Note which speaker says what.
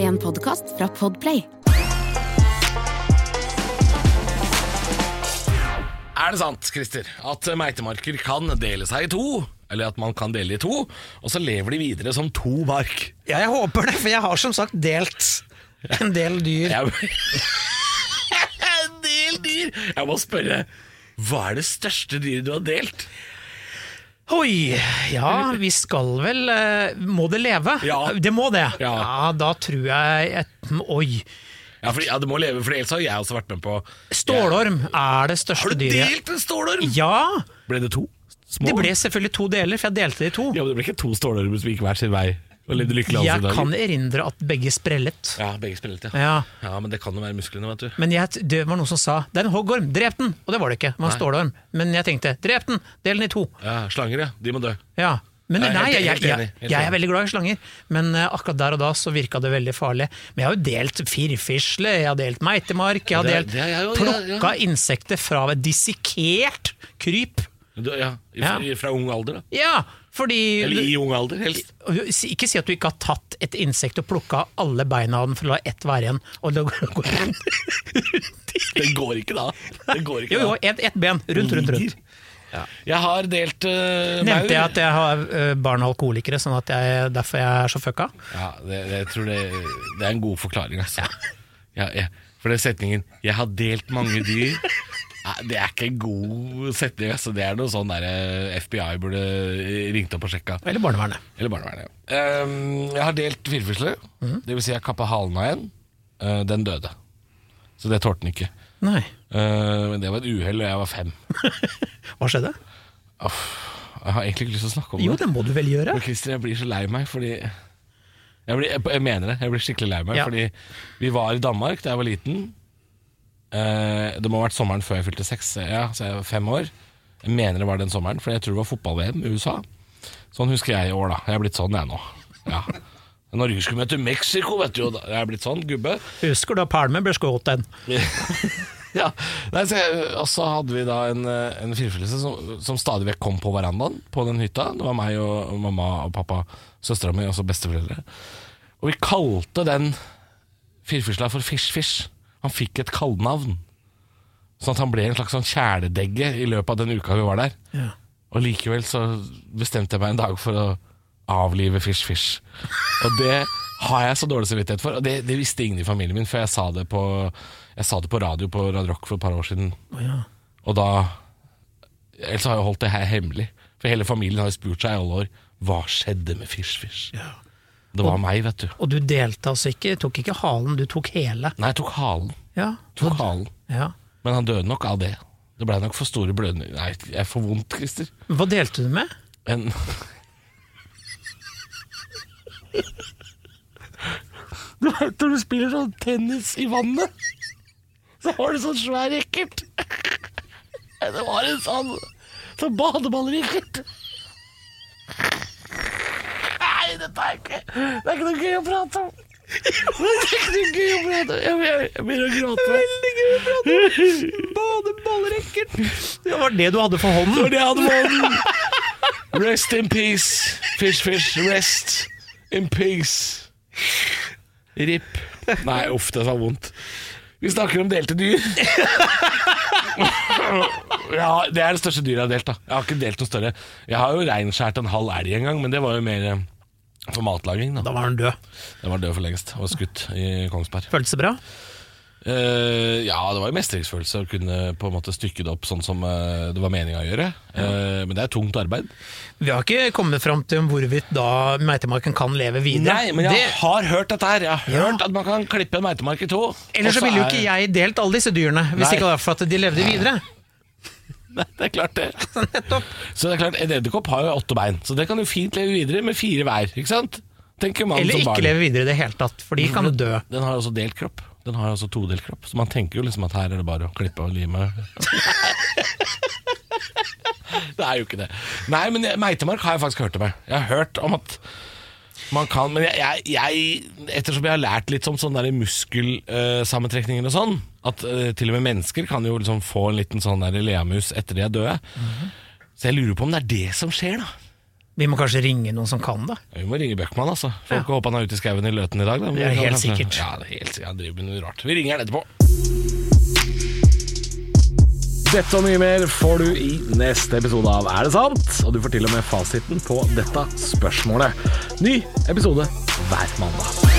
Speaker 1: en podkast fra Podplay.
Speaker 2: Er det sant, Christer, at meitemarker kan dele seg i to? Eller at man kan dele i to, og så lever de videre som to mark?
Speaker 3: Ja, jeg håper det, for jeg har som sagt delt en del dyr.
Speaker 2: Jeg... en del dyr! Jeg må spørre, hva er det største dyret du har delt?
Speaker 3: Oi, ja, vi skal vel eh, Må det leve?
Speaker 2: Ja.
Speaker 3: Det må det.
Speaker 2: Ja.
Speaker 3: da tror jeg et, Oi.
Speaker 2: Ja, fordi, ja, det må leve, for ellers har jeg også vært med på
Speaker 3: Stålorm er
Speaker 2: Har
Speaker 3: det største
Speaker 2: du
Speaker 3: dyret.
Speaker 2: delt en stålorm?
Speaker 3: Ja!
Speaker 2: Ble det to? Små?
Speaker 3: Det ble selvfølgelig to deler, for jeg delte det i to.
Speaker 2: Ja, men det ble ikke to stålormer som gikk hver sin vei og levde lykkelig alle sine
Speaker 3: Jeg
Speaker 2: dager?
Speaker 3: kan erindre at begge sprellet.
Speaker 2: Ja, begge spillet, ja.
Speaker 3: Ja.
Speaker 2: Ja, men det kan jo være musklene, vet du.
Speaker 3: Men jeg, det var noen som sa 'det er en hoggorm, drep den'! Og det var det ikke, det var en
Speaker 2: Nei.
Speaker 3: stålorm. Men jeg tenkte 'drep den, del den i to'.
Speaker 2: Ja, slanger, ja. De må dø.
Speaker 3: Ja. Men
Speaker 2: Jeg
Speaker 3: nei,
Speaker 2: er helt-
Speaker 3: jeg, jeg,
Speaker 2: helt
Speaker 3: jeg,
Speaker 2: enig, helt
Speaker 3: jeg er
Speaker 2: enig.
Speaker 3: veldig glad i slanger, men eh, akkurat der og da så virka det veldig farlig. Men jeg har jo delt firfisle, jeg har delt meitemark, jeg har
Speaker 2: Det er-
Speaker 3: delt
Speaker 2: det er jeg jo, ja, ja.
Speaker 3: plukka insekter fra et dissekert kryp.
Speaker 2: Du, ja, i-
Speaker 3: Ja.
Speaker 2: i- Fra ung alder, da.
Speaker 3: Ja, fordi
Speaker 2: Eller i ung alder, helst.
Speaker 3: Si- Ikke si at du ikke har tatt et insekt og plukka alle beina av den for å la ett være igjen. Og det går, går rundt.
Speaker 2: Det går ikke da. Det går ikke
Speaker 3: Jo, jo,
Speaker 2: da.
Speaker 3: ett et ben. Rundt, rundt, rundt.
Speaker 2: Jeg har delt uh,
Speaker 3: Nevnte jeg at jeg har eh, barn og alkoholikere, sånn at jeg, derfor jeg er så fucka?
Speaker 2: ja, det, det, Jeg tror det, det er en god forklaring, altså. Ja, ja. For den setningen 'jeg har delt mange dyr' Nei, Det er ikke en god setning. Altså. Det er noe sånn der eh, FBI burde ringt opp og sjekka.
Speaker 3: Eller barnevernet.
Speaker 2: Eller barnevernet. ja. Um, jeg har delt firfisle.
Speaker 3: Mhm.
Speaker 2: Det vil si jeg kappa halen av en. Eh, den døde. Så det tålte den ikke.
Speaker 3: Nei.
Speaker 2: Eh, men det var et uhell, og jeg var fem.
Speaker 3: Hva skjedde?
Speaker 2: Jeg har egentlig ikke lyst til å snakke om det.
Speaker 3: Jo, det må du vel gjøre.
Speaker 2: Men Christer, jeg blir så lei meg fordi jeg, blir, jeg, jeg mener det. Jeg blir skikkelig lei meg.
Speaker 3: Ja.
Speaker 2: Fordi vi var i Danmark da jeg var liten. Eh, det må ha vært sommeren før jeg fylte seks. Ja, så jeg var fem år. Jeg mener det var den sommeren, for jeg tror det var fotball-VM i USA. Sånn husker jeg i år, da. Jeg er blitt sånn, jeg nå. Ja. Norge skulle møte Mexico, vet du. og da- Jeg er blitt sånn gubbe.
Speaker 3: Husker da Palme ble skutt en?
Speaker 2: ja. Nei, så jeg, og så hadde vi da en, eh, en firfilelse som, som stadig vekk kom på verandaen på den hytta. Det var meg og og mamma og pappa, søstera mi og så besteforeldre. Og vi kalte den firfisla for Fish-Fish. Han fikk et kallenavn. Sånn at han ble en slags sånn kjæledegge i løpet av den uka vi var der. Og likevel så bestemte jeg meg en dag for å avlive Fish-Fish. Og det har jeg så dårlig samvittighet for. Og det, det visste ingen i familien min før jeg sa det på, jeg sa det på radio på Radio Rock for et par år siden. Og da Ellers har jeg holdt det her hemmelig. For hele familien har jo spurt seg i alle år hva skjedde med Fish-Fish. Det var meg, vet du.
Speaker 3: Og du delte altså ikke, tok ikke halen, du tok hele.
Speaker 2: Nei, jeg tok halen.
Speaker 3: Ja.
Speaker 2: Tok halen.
Speaker 3: ja.
Speaker 2: Men han døde nok av det. Det blei nok for store blødninger. Nei, jeg får vondt, Christer.
Speaker 3: Hva delte du med?
Speaker 2: En Du vet når du spiller sånn tennis i vannet, så har du sånn svær racket. Det var en sånn sånn badeballracket. Nei, dette er ikke Det er ikke noe gøy å prate om. Det er ikke noe gøy å prate om. Jeg, jeg, jeg begynner å gråte. Veldig gøy å prate om badeballracket.
Speaker 3: Det var det du hadde for
Speaker 2: For
Speaker 3: hånden.
Speaker 2: det hadde man. Rest in peace, fish, fish, rest in peace. Rip. Nei, uff, det var vondt. Vi snakker om delte dyr. ja, Det er det største dyret jeg har delt. da Jeg har ikke delt noe større. Jeg har jo reinskjært en halv elg en gang, men det var jo mer eh, for matlaging. da
Speaker 3: Da var han død.
Speaker 2: Den var død for lengst og skutt i Kongsberg.
Speaker 3: Føltes det bra?
Speaker 2: Eh, ja, det var jo mestringsfølelse å kunne på en måte stykke det opp sånn som eh, det var meninga å gjøre. Eh, men det er tungt arbeid.
Speaker 3: Vi har ikke kommet fram til om hvorvidt da meitemarken kan leve videre.
Speaker 2: Nei, men jeg
Speaker 3: Det-
Speaker 2: har hørt dette her. Jeg har hørt at man kan klippe en meitemark i to.
Speaker 3: Ellers så ville jo ikke jeg delt alle disse dyrene, hvis
Speaker 2: Altså, Nei.
Speaker 3: ikke det var for at de levde videre.
Speaker 2: Nei, det er klart det. Så det er klart, En edderkopp har jo åtte bein, så det kan jo fint leve videre med fire hver. Ikke sant? Tenker man
Speaker 3: Eller
Speaker 2: som
Speaker 3: ikke
Speaker 2: barn.
Speaker 3: leve videre i det hele tatt, for de kan jo dø.
Speaker 2: Den har også delt kropp. Den har også todelt kropp. Så man tenker jo liksom at her er det bare å klippe og lime. det er jo ikke det. Nei, men jeg- meitemark har jeg faktisk hørt om. Jeg, jeg har hørt om at man kan Men jeg, jeg, jeg ettersom jeg har lært litt om sånne der muskelsammentrekninger og sånn, at eh, til og med mennesker kan jo liksom få en liten sånn der leamus etter de er døde. Så jeg lurer på om det er det som skjer, da.
Speaker 3: Vi må kanskje ringe noen som kan det.
Speaker 2: Vi må ringe Bøckmann, altså. Får ikke håpe han er ute i skauen i Løten i dag. Da. men
Speaker 3: Det er
Speaker 2: vi kan
Speaker 3: helt
Speaker 2: kanskje-
Speaker 3: sikkert.
Speaker 2: Ja, det er helt sikkert. Han driver med noe rart. Vi ringer han etterpå. Dette og mye mer får du i neste episode av Er det sant? Og du får til og med fasiten på dette spørsmålet. Ny episode hver mandag.